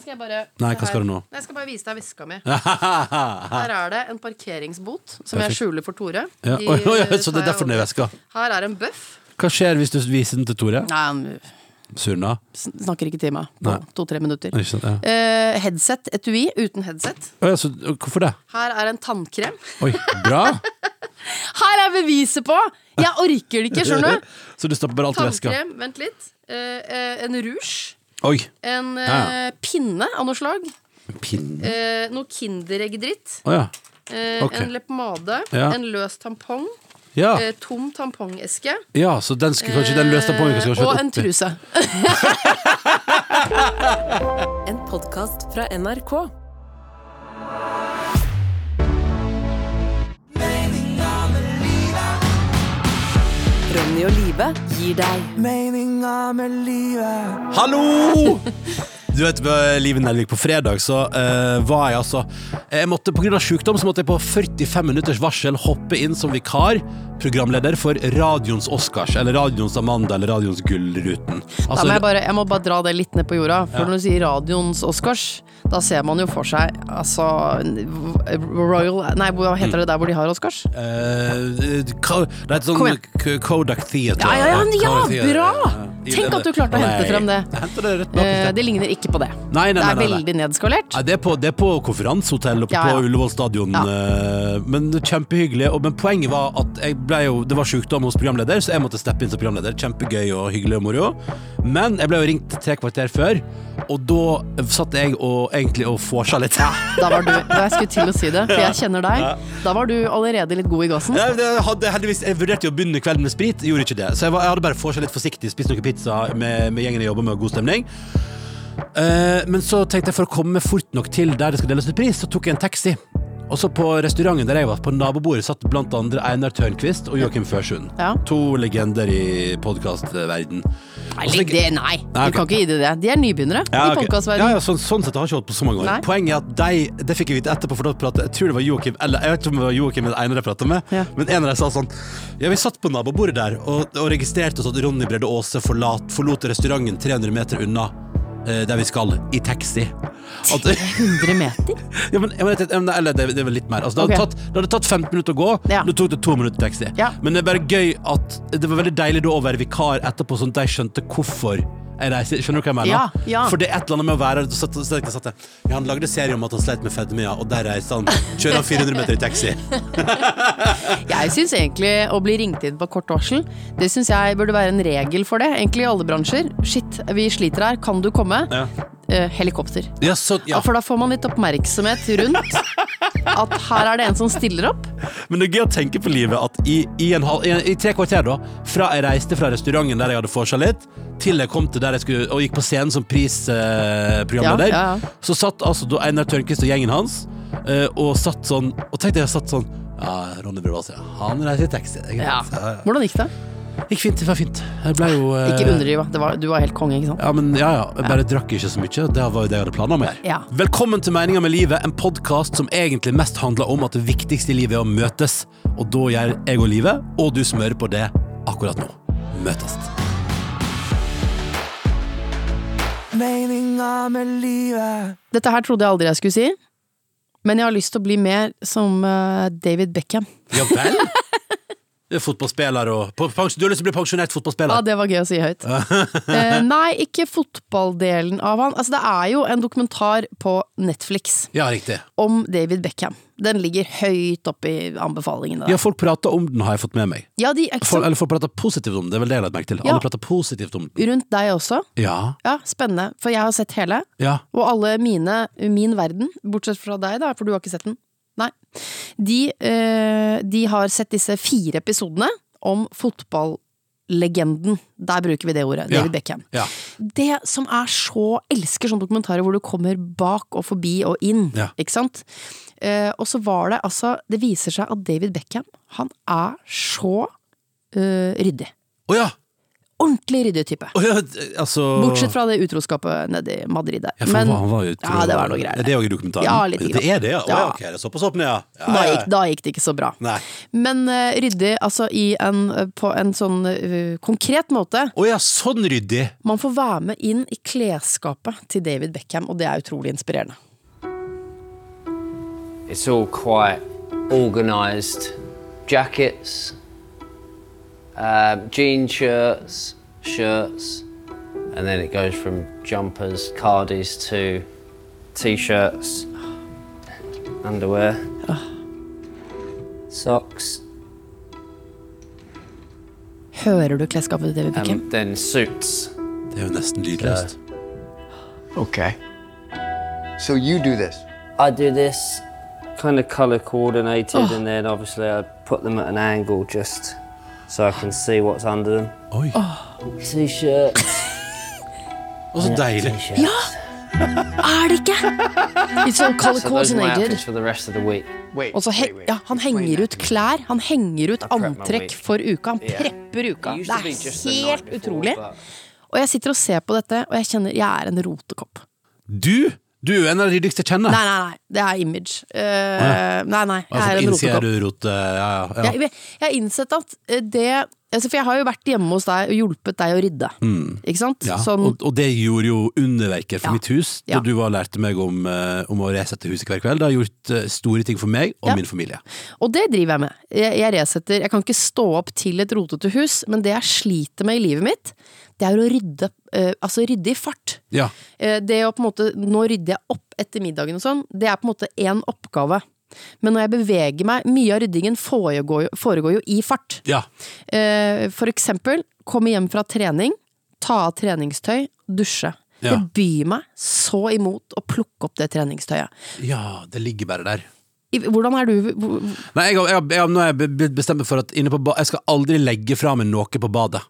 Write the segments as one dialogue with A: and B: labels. A: skal jeg bare
B: Nei, hva skal du nå?
A: Nei, Jeg skal bare vise deg veska mi.
B: ja.
A: Her er det en parkeringsbot som jeg
B: Perfekt.
A: skjuler for Tore. De,
B: Oi, oi, oi,
A: tar
B: så det er
A: jeg
B: derfor den er i
A: over.
B: veska.
A: Her er en bøff.
B: Hva skjer hvis du viser den til Tore?
A: Nei, han
B: Surna?
A: sn- snakker ikke til meg på
B: Nei.
A: to-tre minutter.
B: Ikke sant? Ja.
A: Eh, headset, etui uten headset.
B: Å, ja, så, hvorfor det?
A: Her er en tannkrem.
B: Oi, bra!
A: Her er beviset på! Jeg orker det ikke, skjønner du.
B: så du stapper bare alt i veska?
A: Tannkrem, vent litt. Eh, eh, en rouge.
B: Oi.
A: En eh,
B: Ja.
A: pinne av noe slag.
B: Pinne?
A: Eh, noe Kinderegg-dritt.
B: Å ja.
A: Eh,
B: Ok.
A: En leppepomade.
B: Ja.
A: En løs tampong.
B: ja.
A: Eh, tom tampongeske.
B: Ja, så den skulle kanskje den løste på meg, kanskje
A: Eh, og
B: vært
A: en
B: oppi.
A: truse.
C: En podkast fra NRK. Ronny og Live gir deg
D: Meninga med livet
B: Hallo! Du vet, på Liv i Nelvik på fredag så eh, var jeg altså jeg måtte, På grunn av sykdom så måtte jeg på 45 minutters varsel hoppe inn som vikar, programleder for radioens Oscars, eller radioens Amanda, eller radioens Gullruten.
A: Da
B: Altså,
A: må jeg, bare, jeg må bare dra det litt ned på jorda. For når du sier radioens Oscars, da ser man jo for seg altså Royal Nei, hva heter det der hvor de har Oscars?
B: eh, ko- det heter
A: Kom
B: sånn
A: igjen.
B: K- Kodak Theater.
A: Ja, ja, ja,
B: Kodak
A: ja,
B: Theater,
A: bra!
B: ja.
A: Tenk at du klarte å hente
B: Nei,
A: frem det.
B: jeg hentet det rett bak i
A: Eh,
B: sted.
A: det ligner ikke på det.
B: Nei, nei,
A: det er
B: nei, nei, nei.
A: veldig nedskalert.
B: Nei, det, er på, det er på konferansehotell oppe
A: Ja, ja.
B: på Ullevål stadion. eh, Men det er kjempehyggelig. Og, men poenget var at jeg ble jo, det var sykdom hos programleder, så jeg måtte steppe inn som programleder. Kjempegøy og hyggelig og moro. Men jeg ble jo ringt tre kvarter før, og da satt jeg og egentlig og vorsa litt.
A: Da var du, da jeg skulle til å si det, for jeg kjenner deg. Da var du allerede litt god i gassen.
B: Jeg, jeg, hadde, heldigvis, jeg vurderte jo å begynne kvelden med sprit, gjorde ikke det. Så jeg, var, jeg hadde bare vorsa litt forsiktig, spist noe pizza med, med gjengen jeg jobber med, og god stemning. Eh, men så tenkte jeg for å komme fort nok til der det skal deles ut pris, så tok jeg en taxi. Og så på restauranten der jeg var, på nabobordet, satt blant andre Einar Tørnquist og Joakim Førsund.
A: Ja.
B: To legender i podkastverden.
A: Nei, legg det, nei.
B: Nei, ok.
A: Du kan ikke gi dem det. De er nybegynnere
B: Ja,
A: i
B: ok.
A: podkastverdenen.
B: Ja, ja, sånn, sånn sett har jeg ikke holdt på så mange år.
A: Nei.
B: Poenget er at de, det fikk jeg vite etterpå, for da pratet, jeg tror det var Joakim, eller jeg vet ikke om det var Joakim eller Einar jeg pratet med,
A: Ja.
B: men en av dem sa sånn, ja, vi satt på nabobordet der, og, og registrerte oss at Ronny Brede Aase forlat, forlot restauranten 300 meter unna, eh, der vi skal, i taxi. At,
A: 100 meter?
B: ja, men, ja, men, jeg tenkte- ja, men, eller, det, det var litt mer. Altså, det, hadde
A: Ok.
B: tatt, det hadde tatt 15 minutter å gå,
A: Ja.
B: nå tok det to minutter taxi.
A: Ja.
B: Men det er bare gøy at det var veldig deilig da å være vikar etterpå, sånn at de skjønte hvorfor. Jeg reiser. Skjønner du hva jeg mener?
A: Ja, ja.
B: For det er et eller annet med å være så, så, så, så, ja, Han lagde serie om at han sleit med fedmia, og der reiste han. Kjører han 400 meter i taxi.
A: Jeg syns egentlig å bli ringt inn på kort varsel, det syns jeg burde være en regel for det. Egentlig i alle bransjer. Shit, vi sliter her, kan du komme?
B: Ja.
A: Eh, helikopter.
B: Ja, så, ja.
A: For da får man litt oppmerksomhet rundt at her er det en som stiller opp.
B: Men det er gøy å tenke på livet at i, i, en halv, i, i tre kvarter da Fra jeg reiste fra restauranten der jeg hadde forsa litt Til jeg kom til der jeg skulle Og gikk på scenen som prisprogramleder
A: Ja, ja, ja.
B: Så satt altså da Einar Tørnquist og gjengen hans eh, Og satt sånn Og tenkte jeg satt sånn Ja, Ronny Brøvas Han reiser i taxi det er
A: Ja.
B: greit. Ja,
A: Hvordan gikk det?
B: ja. Gikk fint, det var fint Jeg ble jo eh,
A: Ikke underdriv, da. Det var- Du var helt konge, ikke sant?
B: ja, men ja, ja. Jeg bare drakk ikke så mye. Det var jo det jeg hadde planer om her.
A: Ja.
B: Velkommen til Meninga med livet, en podkast som egentlig mest handler om at det viktigste i livet er å møtes. Og da gjør jeg og livet, og du som hører på det akkurat nå, møtes.
D: Meninga med livet
A: Dette her trodde jeg aldri jeg skulle si, men jeg har lyst til å bli mer som eh, David Beckham.
B: Ja vel? Du er fotballspiller og på- pens- Du har lyst til å bli pensjonert
A: Ja,
B: fotballspiller?
A: det var gøy å si høyt. Eh, nei, ikke fotballdelen av han. Altså, det er jo en dokumentar på Netflix
B: Ja, riktig.
A: om David Beckham. Den ligger høyt oppe i anbefalingene.
B: Ja,
A: der.
B: folk prater om den, har jeg fått med meg.
A: Ja, de er ikke
B: Folk,
A: så
B: eller folk prater positivt om den, det er vel det jeg har lagt merke til.
A: Ja.
B: Alle prater positivt om den.
A: rundt deg også.
B: Ja,
A: Ja, spennende. For jeg har sett hele,
B: ja.
A: og alle mine, min verden, bortsett fra deg, da, for du har ikke sett den. Nei. De, eh, de har sett disse fire episodene om fotballegenden. Der bruker vi det ordet.
B: Ja.
A: David Beckham.
B: Ja.
A: Det som er så elsker sånne dokumentarer hvor du kommer bak og forbi og inn,
B: Ja.
A: ikke sant? Eh, og så var det altså Det viser seg at David Beckham, han er så eh, ryddig.
B: Å ja!
A: ordentlig ryddetype.
B: Å, ja, d- altså
A: Bortsett fra det utroskapet nede i Madrid der.
B: ja, for han var- han var jo utro.
A: ja, det var noe greier.
B: Er det òg i dokumentaren?
A: Ja, litt
B: Det er det, ja? Å, ja
A: Ja.
B: ok, det er såpass opp ned, ja. ja,
A: Da
B: ja, ja.
A: gikk, da gikk det ikke så bra.
B: Nei.
A: Men eh, ryddig altså i en, på en sånn eh, konkret måte.
B: Å ja, sånn ryddig!
A: Man får være med inn i klesskapet til David Beckham, og det er utrolig inspirerende.
E: It's all quite organised. Jackets, um, jean shirts, shirts, and then it goes from jumpers, cardis to t shirts, underwear, socks,
A: Hører du klesskapet til David Beckham?
E: and then suits.
B: Det er jo nesten lydløst.
F: Okay. So you do this.
E: I do this kind of colour coordinated, and then obviously I put them at an angle just so I can see what's under them.
B: Oi.
E: T shirt.
B: Og så deilig.
E: Yeah.
A: Er det ikke?! It's
E: Altså,
A: all color
E: So those are my
A: coordinated.
E: outfits for the rest of the week.
F: Wait.
A: Og så he
F: wait, wait.
A: ja, han
F: Explain
A: henger
F: that
A: ut
F: to me.
A: klær, han henger ut
E: prep my
A: antrekk
E: week.
A: for uka. Han prepper uka.
E: It used
A: Det
E: to
A: er
E: be just the night
A: helt
E: before,
A: utrolig.
E: but-
A: Og jeg sitter og ser på dette, og jeg kjenner jeg er en rotekopp.
B: Du? Du er jo en av de ryddigste jeg kjenner.
A: Nei, nei, nei. Det er image. Eh, nei, nei. Jeg
B: Altså,
A: er en
B: innser
A: rotekopp.
B: du rot, eh, ja, ja, ja.
A: Jeg, jeg har innsett at eh, det altså, For jeg har jo vært hjemme hos deg og hjulpet deg å rydde. Ikke sant?
B: Mm. Ja,
A: Sånn,
B: og, og det gjorde jo underverker for
A: Ja.
B: mitt hus da
A: Ja.
B: du var lærte meg om, eh, om å resette huset hver kveld. Det har gjort eh, store ting for meg og
A: Ja.
B: min familie.
A: og det driver jeg med. Jeg, jeg resetter. Jeg kan ikke stå opp til et rotete hus, men det jeg sliter med i livet mitt, det er å rydde, eh, altså rydde i fart.
B: Ja.
A: Eh, det å på en måte, Nå rydder jeg opp etter middagen og sånn, det er på en måte én oppgave. Men når jeg beveger meg, mye av ryddingen foregår jo, foregår jo i fart.
B: ja.
A: Eh, For eksempel, komme hjem fra trening, ta av treningstøy, dusje.
B: Ja.
A: Det byr meg så imot å plukke opp det treningstøyet.
B: Ja, det ligger bare der.
A: I- Hvordan er du hvor-
B: Nei, jeg, har- jeg, har- jeg, har- nå har jeg be- be- bestemt meg for at inne på ba, jeg skal aldri legge fra meg noe på badet.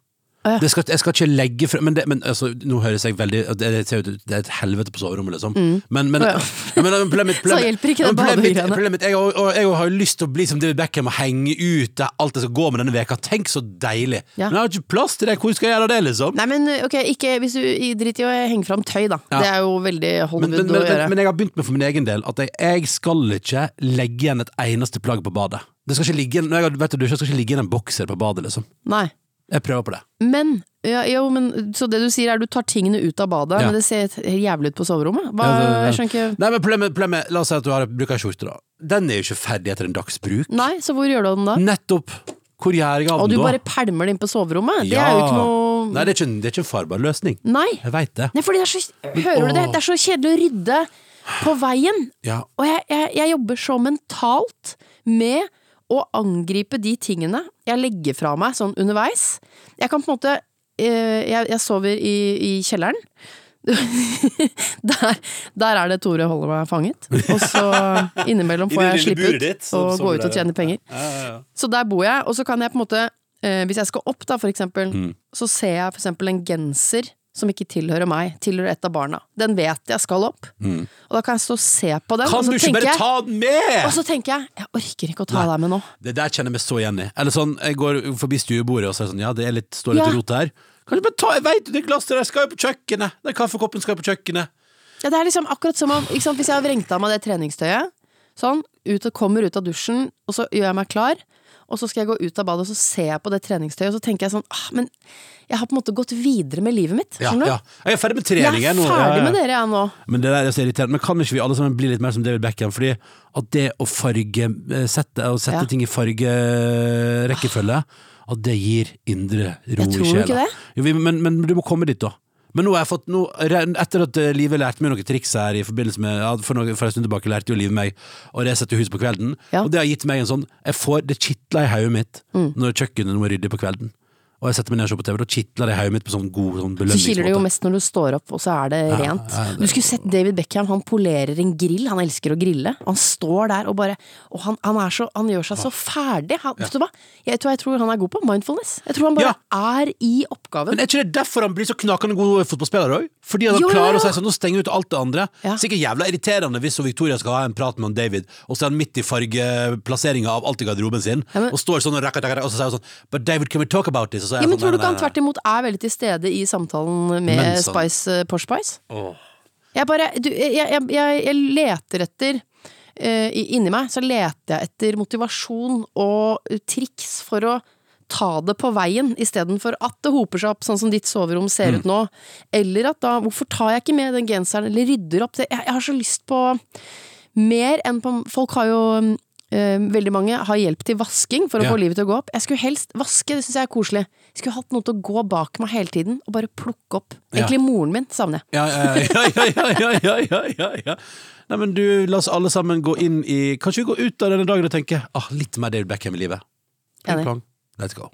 A: ja.
B: Det skal, jeg skal ikke legge fra Men, det, men altså, nå høres jeg veldig at Det, det ser ut det er et helvete på soverommet, liksom. Men, men,
A: Mm. Å, ja.
B: Ja, men, men problemet,
A: Så hjelper ikke det
B: men problemet, mitt-
A: badegreiene.
B: problemet mitt- jeg, har- og, jeg har jo lyst til å bli som David Beckham og henge ut det, alt jeg skal gå med denne veka Tenk så deilig!
A: Ja.
B: Men jeg har ikke plass til det. Hvor skal jeg gjøre det, liksom?
A: Nei, men ok, ikke, hvis du i- drit i å henge fram tøy, da.
B: Ja.
A: Det er jo veldig Hollywood
B: Men, men,
A: å
B: men,
A: gjøre.
B: men, men jeg har begynt med for min egen del at jeg, jeg skal ikke legge igjen et eneste plagg på badet. Det skal ikke ligge, igjen- når jeg har vært og dusjet, skal ikke ligge igjen en bokser på badet, liksom.
A: Nei.
B: Jeg prøver på det.
A: Men, ja, jo, men Så det du sier er du tar tingene ut av badet,
B: Ja.
A: men det ser helt jævlig ut på soverommet? Hva,
B: Ja,
A: jeg
B: det-
A: skjønner ikke
B: Nei, Altså, men problemet, problemet La oss si at du har, bruker en skjorte, da. Den er jo ikke ferdig etter en dags bruk.
A: Nei, så hvor gjør du den da?
B: Nettopp! Hvor gjør jeg av
A: Og
B: den
A: du
B: Mm, da?
A: bare pælmer det inn på soverommet? Det
B: Ja.
A: er jo ikke noe Mm.
B: Nei, det er ikke, en- det er ikke en farbar løsning.
A: Nei.
B: Jeg veit det.
A: Nei, fordi det er så, hører du det?
B: Åh.
A: Det er så kjedelig å rydde på veien.
B: Ja.
A: Og jeg, jeg, jeg jobber så mentalt med å angripe de tingene jeg legger fra meg sånn underveis. Jeg kan på en måte eh, Jeg, jeg sover i, i kjelleren. der, der er det Tore holder meg fanget. Og så innimellom får jeg slippe ut og gå ut og tjene penger. Så der bor jeg, og så kan jeg på en måte eh, Hvis jeg skal opp, da, for eksempel,
B: Mm.
A: så ser jeg for eksempel en genser som ikke tilhører meg, tilhører et av barna. Den vet jeg skal opp. Og da kan jeg stå og se på den,
B: Mm.
A: og
B: Kan du
A: så
B: ikke
A: tenker
B: bare
A: jeg
B: ta den med?!
A: og så tenker jeg jeg orker ikke å ta
B: Nei.
A: deg med nå.
B: Det der kjenner jeg meg så igjen i. Eller sånn, jeg går forbi stuebordet og så er det sånn, ja, det er litt, står litt
A: Ja.
B: rot her. Kan du bare ta, jeg vet, det glasset der skal jo på kjøkkenet! Den kaffekoppen skal jo på kjøkkenet!
A: Ja, det er liksom akkurat som om ikke sant, Hvis jeg har vrengt av meg det treningstøyet, sånn, ut og kommer ut av dusjen, og så gjør jeg meg klar, og så skal jeg gå ut av badet, og så ser jeg på det treningstøyet, og så tenker jeg sånn ah, Men jeg har på en måte gått videre med livet mitt.
B: Ja,
A: Skjønner du?
B: ja. Jeg er ferdig med trening.
A: Jeg er ferdig med dere, jeg nå.
B: Men det der er så irriterende. Men kan ikke vi alle sammen bli litt mer som David Beckham? Fordi at det å farge eh, Sette, å sette
A: Ja.
B: ting i fargerekkefølge, at det gir indre ro
A: Jeg
B: i
A: tror
B: sjela.
A: ikke det.
B: Jo, vi- men, men du må komme dit, da. Men nå har jeg fått nå, Etter at eh, Live lærte meg noen triks her i forbindelse med ja, for, noen, for en stund tilbake lærte jo Live meg å resette huset på kvelden.
A: Ja. Mm.
B: Og det har gitt meg en sånn jeg får, Det kitler i hodet mitt når kjøkkenet nå er ryddig på kvelden. Og jeg setter meg ned og ser på TV, da kitler det i hodet mitt på sånn god sånn
A: Så kiler det jo
B: belønningsmåte.
A: mest når du står opp, og så er det rent.
B: ja, det-
A: Du skulle sett David Beckham, han polerer en grill, han elsker å grille. Og han står der og bare Og han, han, er så, han gjør seg så ferdig. Han, Vet du hva? Jeg, vet du hva jeg tror han er god på? Mindfulness. Jeg tror han bare er i oppgaven.
B: Men er ikke det derfor han blir så knakende god fotballspiller òg? Fordi han
A: Jo, jo,
B: klarer
A: jo.
B: å si sånn, nå stenger jeg ut alt det andre.
A: Ja.
B: Sikkert jævla irriterende hvis hun Victoria skal ha en prat med han David, og så er han midt i fargeplasseringa av alt i garderoben sin,
A: Ja, men-
B: og står sånn og rakker, rakker, rakker, og så sier hun sånn But David, can we talk about this? Og så er
A: Ja,
B: jeg
A: men
B: sånn,
A: tror du
B: nei,
A: ikke han
B: nei,
A: tvert imot er veldig til stede i samtalen med
B: Men sånn.
A: Spice, eh, Posh Spice?
B: nei. Åh.
A: Jeg bare du, jeg, jeg, jeg, jeg leter etter eh, i- Inni meg så leter jeg etter motivasjon og eh, triks for å ta det på veien, istedenfor at det hoper seg opp, sånn som ditt soverom ser
B: Mm.
A: ut nå. Eller at da Hvorfor tar jeg ikke med den genseren, eller rydder opp? Det, jeg, jeg har så lyst på mer enn på Folk har jo eh, veldig mange har hjelp til vasking for å
B: Ja.
A: få livet til å gå opp. Jeg skulle helst vaske, det syns jeg er koselig. Jeg skulle hatt noen til å gå bak meg hele tiden og bare plukke opp.
B: Ja.
A: Egentlig moren min savner jeg.
B: Ja, ja, ja, ja, ja, ja, ja, ja, ja, ja. Nei, men du, la oss alle sammen gå inn i Kanskje vi går ut av denne dagen og tenker ah, litt mer David Beckham i livet. Pling,
A: Enig.
B: plong. Let's go.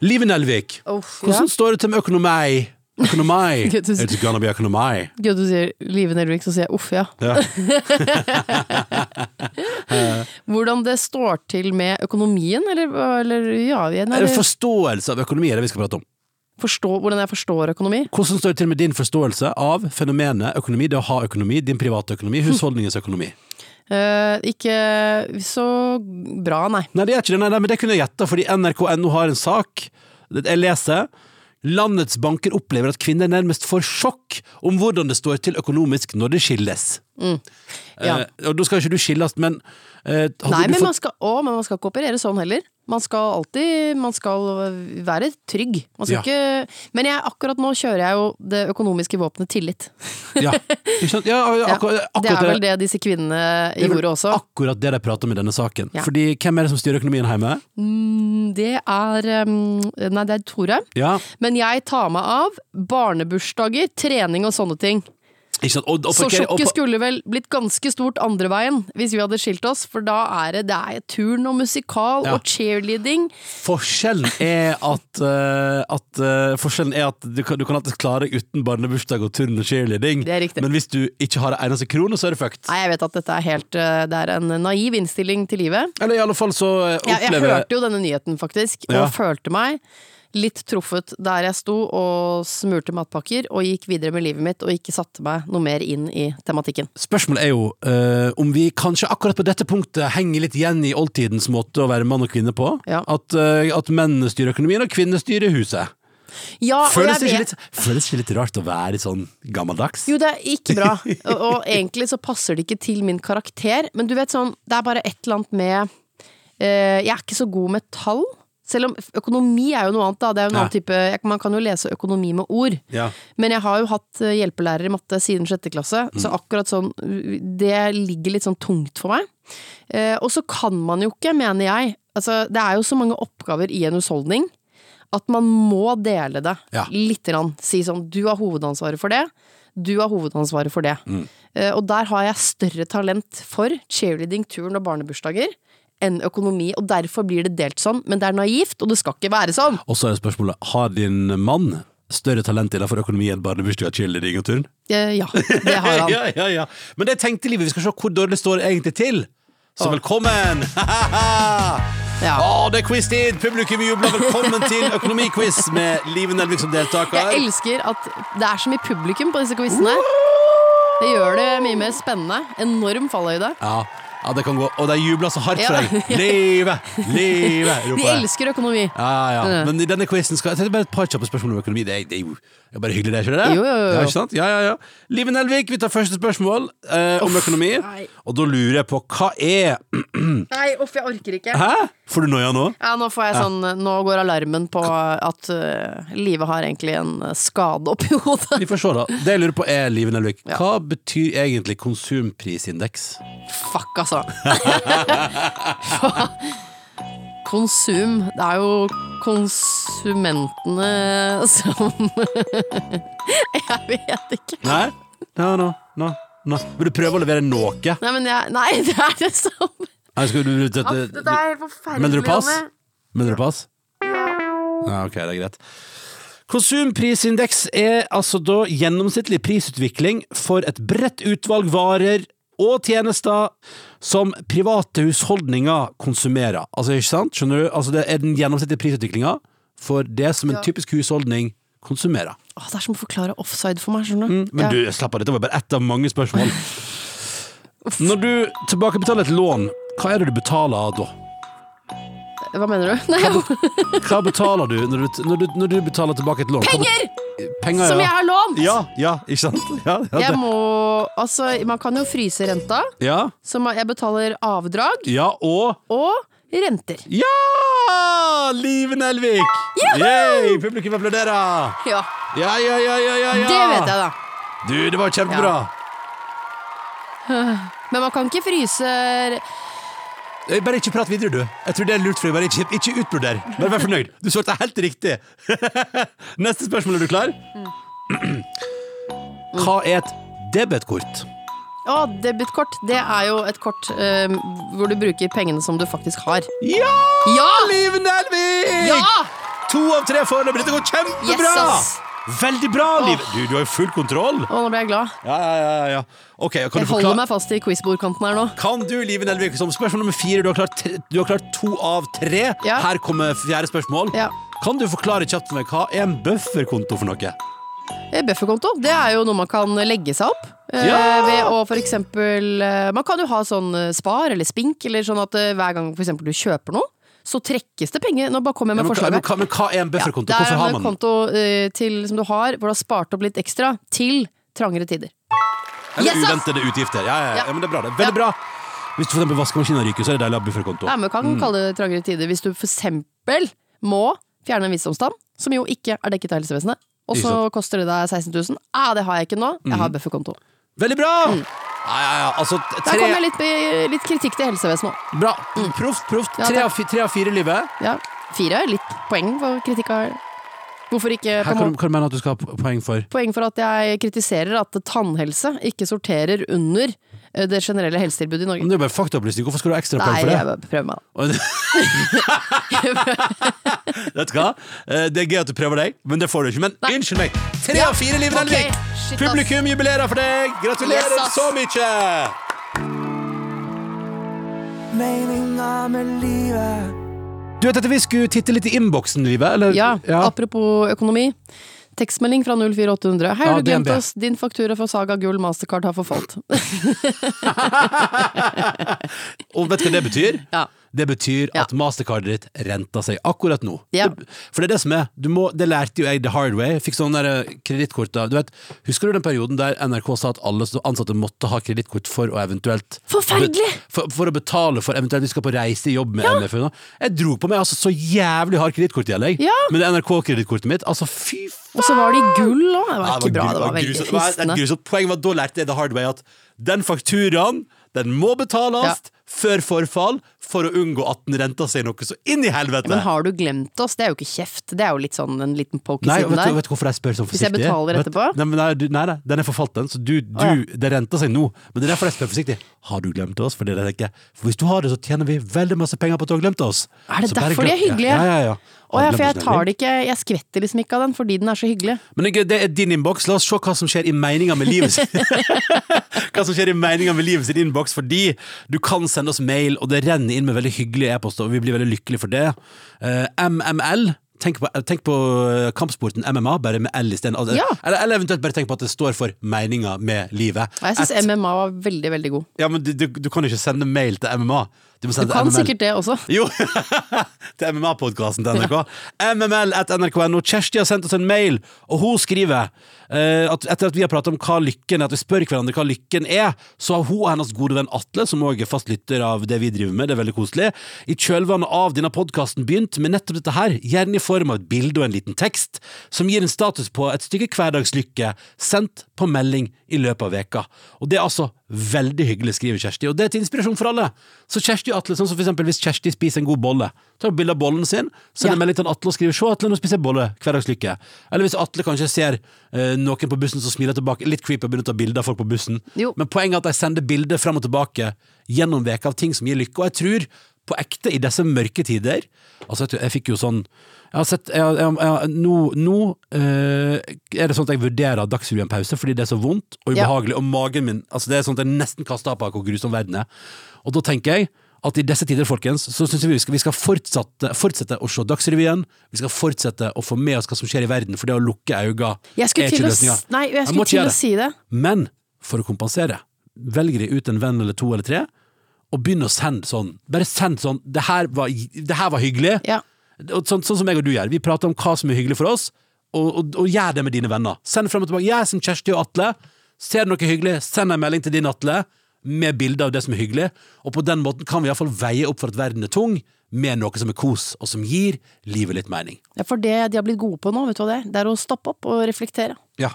B: Live Nelvik,
A: Uff, ja.
B: hvordan står det til med økonomi? Økonomi.
A: Gud, du-
B: It's gonna be økonomi.
A: Gøy at du sier Live Nelvik, så sier jeg uff, ja.
B: Ja.
A: Hvordan det står til med økonomien, eller, eller ja igjen,
B: Er det
A: eller
B: forståelse av økonomi er det vi skal prate om?
A: forstå, Hvordan jeg forstår økonomi?
B: Hvordan står det til med din forståelse av fenomenet økonomi, det å ha økonomi, din private økonomi,
A: Hm.
B: husholdningens økonomi?
A: Eh, ikke så bra, nei.
B: Nei, det er ikke det, nei, nei, men det kunne jeg gjette, fordi NRK.no har en sak, det- jeg leser, landets banker opplever at kvinner nærmest får sjokk om hvordan det står til økonomisk når det skilles.
A: Mm. Ja.
B: Eh, og da skal ikke du skilles, men eh, hadde
A: Nei,
B: du
A: men
B: fått-
A: man skal, å, men man skal ikke operere sånn heller. Man skal alltid Man skal være trygg. Man skal
B: Ja.
A: ikke Men jeg, akkurat nå kjører jeg jo det økonomiske våpenet tillit.
B: Ja, ikke sant? Ja,
A: Ja.
B: akkurat, akkurat
A: det er vel det disse kvinnene
B: er vel
A: gjorde også.
B: Akkurat det de prater om i denne saken.
A: Ja.
B: Fordi hvem er det som styrer økonomien hjemme?
A: Mm, Det er eh, Nei, det er Tore.
B: Ja,
A: Men jeg tar meg av barnebursdager, trening og sånne ting.
B: ikke sant? Og, og
A: Så
B: parker- og
A: sjokket
B: pa-
A: skulle vel blitt ganske stort andre veien hvis vi hadde skilt oss, for da er det, det er turn og musikal
B: Ja.
A: og cheerleading.
B: Forskjellen er at, eh, at eh, Forskjellen er at du kan, du kan alltid klare deg uten barnebursdag og turn og cheerleading.
A: Det er riktig.
B: Men hvis du ikke har en eneste krone, så er det fucked.
A: Nei, jeg vet at dette er helt eh, Det er en naiv innstilling til livet.
B: Eller i alle fall så eh,
A: Jeg, jeg
B: opplever
A: hørte jo denne nyheten, faktisk, og
B: Ja.
A: følte meg litt truffet der jeg sto og smurte matpakker og gikk videre med livet mitt og ikke satte meg noe mer inn i tematikken.
B: Spørsmålet er jo eh, om vi kanskje akkurat på dette punktet henger litt igjen i oldtidens måte å være mann og kvinne på.
A: Ja.
B: At, eh, at mennene styrer økonomien, og kvinner styrer huset.
A: Ja, og
B: Føles
A: jeg
B: det
A: vet-
B: ikke litt, føles det ikke litt rart å være sånn gammeldags?
A: Jo, det er ikke bra. Og, og egentlig så passer det ikke til min karakter. Men du vet sånn, det er bare et eller annet med eh, Jeg er ikke så god med tall. Selv om økonomi er jo noe annet, da. Det er jo en
B: Ja.
A: annen type, jeg, man kan jo lese økonomi med ord.
B: Ja.
A: Men jeg har jo hatt eh, hjelpelærer i matte siden sjette klasse, så akkurat sånn uh, Det ligger litt sånn tungt for meg. Eh, og så kan man jo ikke, mener jeg altså, Det er jo så mange oppgaver i en husholdning at man må dele det
B: Ja.
A: lite grann. Si sånn Du har hovedansvaret for det. Du har hovedansvaret for det. Eh, og der har jeg større talent for cheerleading, turn og barnebursdager enn økonomi. Og derfor blir det delt sånn, men det er naivt, og det skal ikke være sånn.
B: Og så er spørsmålet, har din mann større talent innenfor økonomi enn barnebursdag, cheerleading og turn?
A: Eh, ja, det har han.
B: ja, ja, ja. Men det tenkte livet. Vi skal se hvor dårlig står det egentlig til. Så velkommen!
A: Ja.
B: Å, det er quiz-tid! Publikum jubler. Velkommen til økonomiquiz med Live Nelvik som deltaker.
A: Jeg elsker at det er så mye publikum på disse quizene. Det gjør det mye mer spennende. Enorm fallhøyde.
B: Ja, ja, det kan gå. Og de jubler så hardt for
A: Ja.
B: deg. Live! Live!
A: De
B: roper jeg.
A: elsker økonomi.
B: Ja, ja. Men i denne quizen skal jeg tenkte bare et par kjappe spørsmål om økonomi. Det er, det er jo det er bare hyggelig, det, er ikke det?
A: Jo, jo, jo, jo.
B: Ja, ikke sant? Ja, ja, ja. Live Nelvik, vi tar første spørsmål eh, om økonomi.
A: nei.
B: Og da lurer jeg på hva er
A: Nei, uff, jeg orker ikke.
B: Hæ? Får du noia nå?
A: Ja, nå, får jeg sånn, nå går alarmen på at uh, livet har egentlig en uh, skade oppi hodet.
B: Vi får se, da. Det jeg lurer på, er Liven Elvik. Hva betyr egentlig konsumprisindeks?
A: Fuck, altså. Konsum. Det er jo konsumentene som Jeg vet ikke.
B: Nei? No, no, no, no. Vil du prøve å levere noe? Nei,
A: Nei, men jeg, nei, det er det samme.
B: skal du, du, du,
A: Aff, dette er helt forferdelig.
B: Mener du pass?
A: Anne.
B: Mener du pass? Ja, ok, det er greit. Konsumprisindeks er altså da gjennomsnittlig prisutvikling for et bredt utvalg varer og tjenester som private husholdninger konsumerer. Altså, ikke sant? Skjønner du? Altså, det er den gjennomsnittlige prisutviklinga for det som en typisk husholdning konsumerer.
A: Åh, det er som å forklare offside for meg, skjønner du.
B: Mm, Men
A: ja.
B: du, slapp av, dette var bare ett av mange spørsmål. Når du tilbakebetaler et lån, hva er det du betaler da?
A: Hva mener du? Nei,
B: Hva betaler du når du, når du, når du betaler tilbake et lån? Hva
A: penger!
B: bet- Penger,
A: Som jeg
B: ja.
A: har lånt!
B: Ja, ja, ikke sant? Ja, ja,
A: Jeg
B: det.
A: må Altså, man kan jo fryse renta,
B: ja,
A: så ma- jeg betaler avdrag
B: ja og
A: og renter.
B: Ja! Live Nelvik! Yay! Publikum applauderer!
A: Ja,
B: Ja, ja, ja, ja, ja, ja.
A: det vet jeg, da.
B: Du, det var kjempebra.
A: Men man kan ikke fryse
B: Eh, Bare ikke prat videre, du. Jeg tror det er lurt for deg. Bare ikke, ikke utbroder. Bare vær fornøyd. Du svarte helt riktig. Neste spørsmål, er du klar?
A: Mm.
B: Hva er et debetkort?
A: Å, debutkort. Det er jo et kort eh, hvor du bruker pengene som du faktisk har.
B: Ja!
A: Ja!
B: Liv Nelvik!
A: Ja!
B: To av tre foreløpig. Dette går kjempebra!
A: Yes, ass.
B: Veldig bra, Liv. Du, du har jo full kontroll.
A: Å, nå ble jeg glad.
B: Ja, ja, ja, ja. Ok, kan
A: Jeg
B: du
A: holder
B: forklare
A: meg fast i quizbordkanten her nå.
B: Kan du, Liv Nelvik, som spørsmål nummer fire Du har klart, tre- du har klart to av tre.
A: Ja.
B: Her kommer fjerde spørsmål.
A: Ja.
B: Kan du forklare kjapt for meg hva er en bufferkonto for noe?
A: Eh, Bufferkonto det er jo noe man kan legge seg opp. eh,
B: Ja!
A: Ved å for eksempel eh, Man kan jo ha sånn eh, spar eller spink, eller sånn at eh, hver gang for eksempel du kjøper noe, så trekkes det penger. Nå bare kommer jeg
B: Ja,
A: med
B: men, hva- men,
A: forslaget.
B: hva- men hva er en bufferkonto?
A: det er
B: Hvorfor har
A: en
B: man den?
A: konto eh, til, som du har, hvor du har spart opp litt ekstra til trangere tider.
B: Eller
A: Yes, ass!
B: uventede utgifter. Ja, ja, ja.
A: Ja.
B: ja, men det er bra. det Veldig
A: Ja.
B: bra. Hvis du for eksempel vaskemaskinen ryker, så er det deilig å ha bufferkonto.
A: Ja, men du kan
B: Mm.
A: kalle det trangere tider hvis du for eksempel må fjerne en visdomstann, som jo ikke er dekket av helsevesenet. Og
B: Ikke
A: så
B: sant. Mhm.
A: koster det deg 16 000. Ah, det har jeg ikke nå. Jeg har bufferkonto.
B: Veldig bra! Ja, ja, ja. Altså, t-
A: Mm. Der kom
B: tre
A: jeg litt, eh, litt kritikk til helsevesenet òg.
B: Bra. Proft, proft.
A: Ja,
B: Tre
A: takk.
B: av fi- tre av fire i livet.
A: Ja, fire. Litt poeng for kritikk av Hvorfor ikke
B: Her
A: på en måte,
B: kan, du- kan du mene at du skal ha po- poeng for.
A: Poeng for at jeg kritiserer at tannhelse ikke sorterer under eh, det generelle helsetilbudet i
B: Men
A: Norge.
B: det er jo bare faktaopplysning. Hvorfor skal du ha ekstra
A: Nei,
B: poeng for det?
A: jeg bare prøver meg, da.
B: Og- Vet du hva? Eh, Det er gøy at du prøver deg, men det får du ikke. Men unnskyld meg. Tre av fire liv,
A: Ok,
B: Nelvik!
A: shit, ass.
B: Publikum jubilerer for deg! Gratulerer
A: Yes, ass.
B: så mye!
D: Meninga med livet.
B: Du vet at vi skulle titte litt i innboksen, Livet? Eller?
A: Ja, apropos økonomi. Tekstmelding fra 04800. Hei,
B: Ja,
A: har du glemt
B: DNB.
A: oss? Din faktura for Saga Gull Mastercard har forfalt.
B: Og vet du hva det betyr?
A: Ja.
B: Det betyr
A: Ja.
B: at mastercardet ditt renter seg akkurat nå.
A: Ja.
B: Det, for det er det som er. Du må, det lærte jo jeg the hard way. Jeg fikk sånne der, eh, kredittkort da. Du vet, Husker du den perioden der NRK sa at alle som- ansatte måtte ha kredittkort for å eventuelt
A: Forferdelig!
B: Be, for, for å betale for eventuelt vi skal på reise i jobb med NF. nå. Jeg dro på meg altså så jævlig hard kredittkortgjeldig
A: Ja.
B: med det NRK-kredittkortet mitt. Altså, fy faen!
A: Og så var det i gull òg. Det var
B: Ja,
A: ikke bra.
B: gru-
A: Det var veldig
B: grusomt. Det var et- et
A: fristende.
B: grusomt poeng var at da lærte jeg the hard way at den fakturaen, den må betales før forfall for å unngå at den renta seg noe så inn i helvete.
A: Men har du glemt oss? Det er jo ikke kjeft. Det er jo litt sånn en liten poke i
B: Nei, vet
A: siden
B: du,
A: der.
B: vet du hvorfor jeg spør sånn forsiktig?
A: Hvis jeg betaler
B: Vet-
A: etterpå?
B: Nei, men nei, du- nei, nei, den er forfalt den, så du, du,
A: Å,
B: det renter seg nå. Men det er derfor jeg spør forsiktig. Har du glemt oss? For, det er det jeg tenker. for hvis du har det, så tjener vi veldig masse penger på at du har glemt oss.
A: Er det
B: Så bare
A: derfor de er
B: glem-
A: hyggelige?
B: Ja, ja, ja.
A: Å ja, for jeg tar
B: det
A: det ikke Jeg skvetter liksom ikke av den fordi den er så hyggelig.
B: Men ikke- det er din innboks. La oss se hva som skjer i meninga med livet sitt. hva som skjer i meninga med livet sitt innboks, fordi du kan sende oss mail, og det renner inn med veldig hyggelige e-poster, og vi blir veldig lykkelige for det. Eh, MML. Tenk på, tenk på kampsporten MMA, bare med L isteden. Altså,
A: Ja.
B: Eller, eller eventuelt bare tenk på at det står for meninga med livet.
A: Og Jeg
B: At-
A: syns MMA var veldig, veldig god.
B: ja, men du, du, du kan jo ikke sende mail til MMA. Du, må sende
A: Du kan
B: MML.
A: sikkert det også.
B: Jo, til MMA-podkasten til NRK. MML at nrk.no. Kjersti har sendt oss en mail, og hun skriver eh, at etter at vi har pratet om hva lykken er, at vi spør hverandre hva lykken er, så har hun og hennes gode venn Atle, som òg er fast lytter av det vi driver med, det er veldig koselig, i kjølvannet av denne podkasten begynt med nettopp dette her, gjerne i form av et bilde og en liten tekst, som gir en status på et stykke hverdagslykke sendt på melding i løpet av veka. Og det er altså veldig hyggelig, skriver Kjersti, og det er til inspirasjon for alle. Så Kjersti og Atle, sånn som for eksempel hvis Kjersti spiser en god bolle, tar bilde av bollen sin, sender
A: Ja.
B: melding til Atle og skriver 'Se, Atle, nå spiser jeg bolle. Hverdagslykke'. Eller hvis Atle kanskje ser eh, noen på bussen som smiler tilbake, litt creepy å begynne å ta bilder av folk på bussen,
A: Jo.
B: men poenget er at de sender bilder fram og tilbake gjennom veka av ting som gir lykke, og jeg tror på ekte, i disse mørke tider Altså, jeg, tror- jeg fikk jo sånn Jeg har sett jeg, jeg, jeg, Nå, nå eh, er det sånn at jeg vurderer Dagsrevyen pause fordi det er så vondt og
A: Ja.
B: ubehagelig, og magen min Altså, det er sånn at jeg nesten kaster av på hvor grusom verden er. Og da tenker jeg at i disse tider, folkens, så syns jeg vi skal, vi skal fortsette, fortsette å se Dagsrevyen. Vi skal fortsette å få med oss hva som skjer i verden, for det å lukke øynene
A: Jeg
B: er
A: skulle
B: ikke
A: til å,
B: løsninga.
A: s- nei, jeg
B: må
A: skulle
B: ikke gjøre
A: til å
B: det.
A: si det.
B: Men for å kompensere velger de ut en venn eller to eller tre, og begynner å sende sånn. Bare send sånn 'Det her var, det her var hyggelig'.
A: Ja.
B: Og Sånn, sånn som jeg og du gjør. Vi prater om hva som er hyggelig for oss, og, og, og gjør det med dine venner. Send frem og tilbake. Jeg som Kjersti og Atle, ser du noe hyggelig, send en melding til din Atle med bilde av det som er hyggelig, og på den måten kan vi iallfall veie opp for at verden er tung, med noe som er kos, og som gir livet litt mening.
A: Ja, for det de har blitt gode på nå, vet du hva det er? Det er å stoppe opp og reflektere.
B: Ja,